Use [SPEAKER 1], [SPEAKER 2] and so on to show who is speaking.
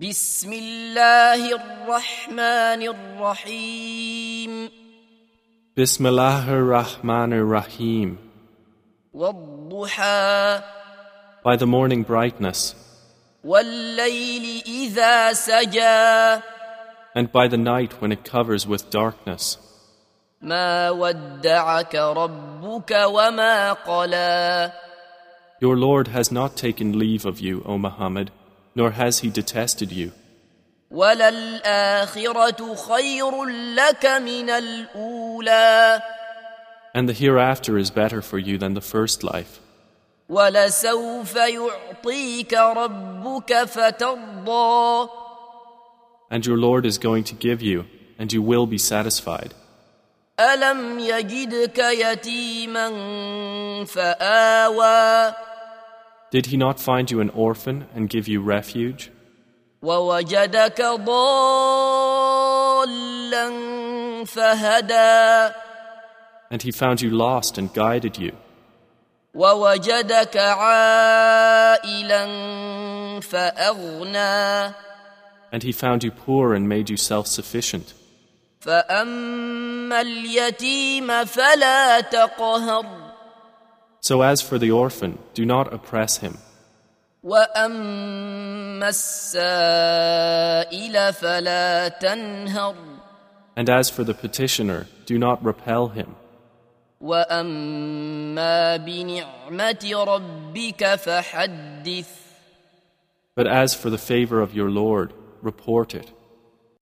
[SPEAKER 1] بسم الله الرحمن الرحيم
[SPEAKER 2] Bismillahir Rahmanir Rahim.
[SPEAKER 1] والضحى
[SPEAKER 2] By the morning brightness,
[SPEAKER 1] والليل إذا سجى
[SPEAKER 2] and by the night when it covers with darkness.
[SPEAKER 1] ما ودعك ربك وما قلى
[SPEAKER 2] Your Lord has not taken leave of you, O Muhammad, nor has he detested you.
[SPEAKER 1] وللآخرة خير لك من الأولى
[SPEAKER 2] And the hereafter is better for you than the first life.
[SPEAKER 1] ولسوف يعطيك ربك فترضى
[SPEAKER 2] And your Lord is going to give you, and you will be satisfied.
[SPEAKER 1] ألم يجدك يتيما فآوى
[SPEAKER 2] Did he not find you an orphan and give you refuge?
[SPEAKER 1] ووجدك ضالا فهدى
[SPEAKER 2] And he found you lost and guided you.
[SPEAKER 1] ووجدك عائلا فأغنى
[SPEAKER 2] And he found you poor and made you self sufficient.
[SPEAKER 1] فأما اليتيم فلا تقهر
[SPEAKER 2] So as for the orphan, do not oppress him.
[SPEAKER 1] وأما السائل فلا تنهر
[SPEAKER 2] And as for the petitioner, do not repel him.
[SPEAKER 1] وأما بنعمة ربك فحدث
[SPEAKER 2] But as for the favor of your Lord, report it.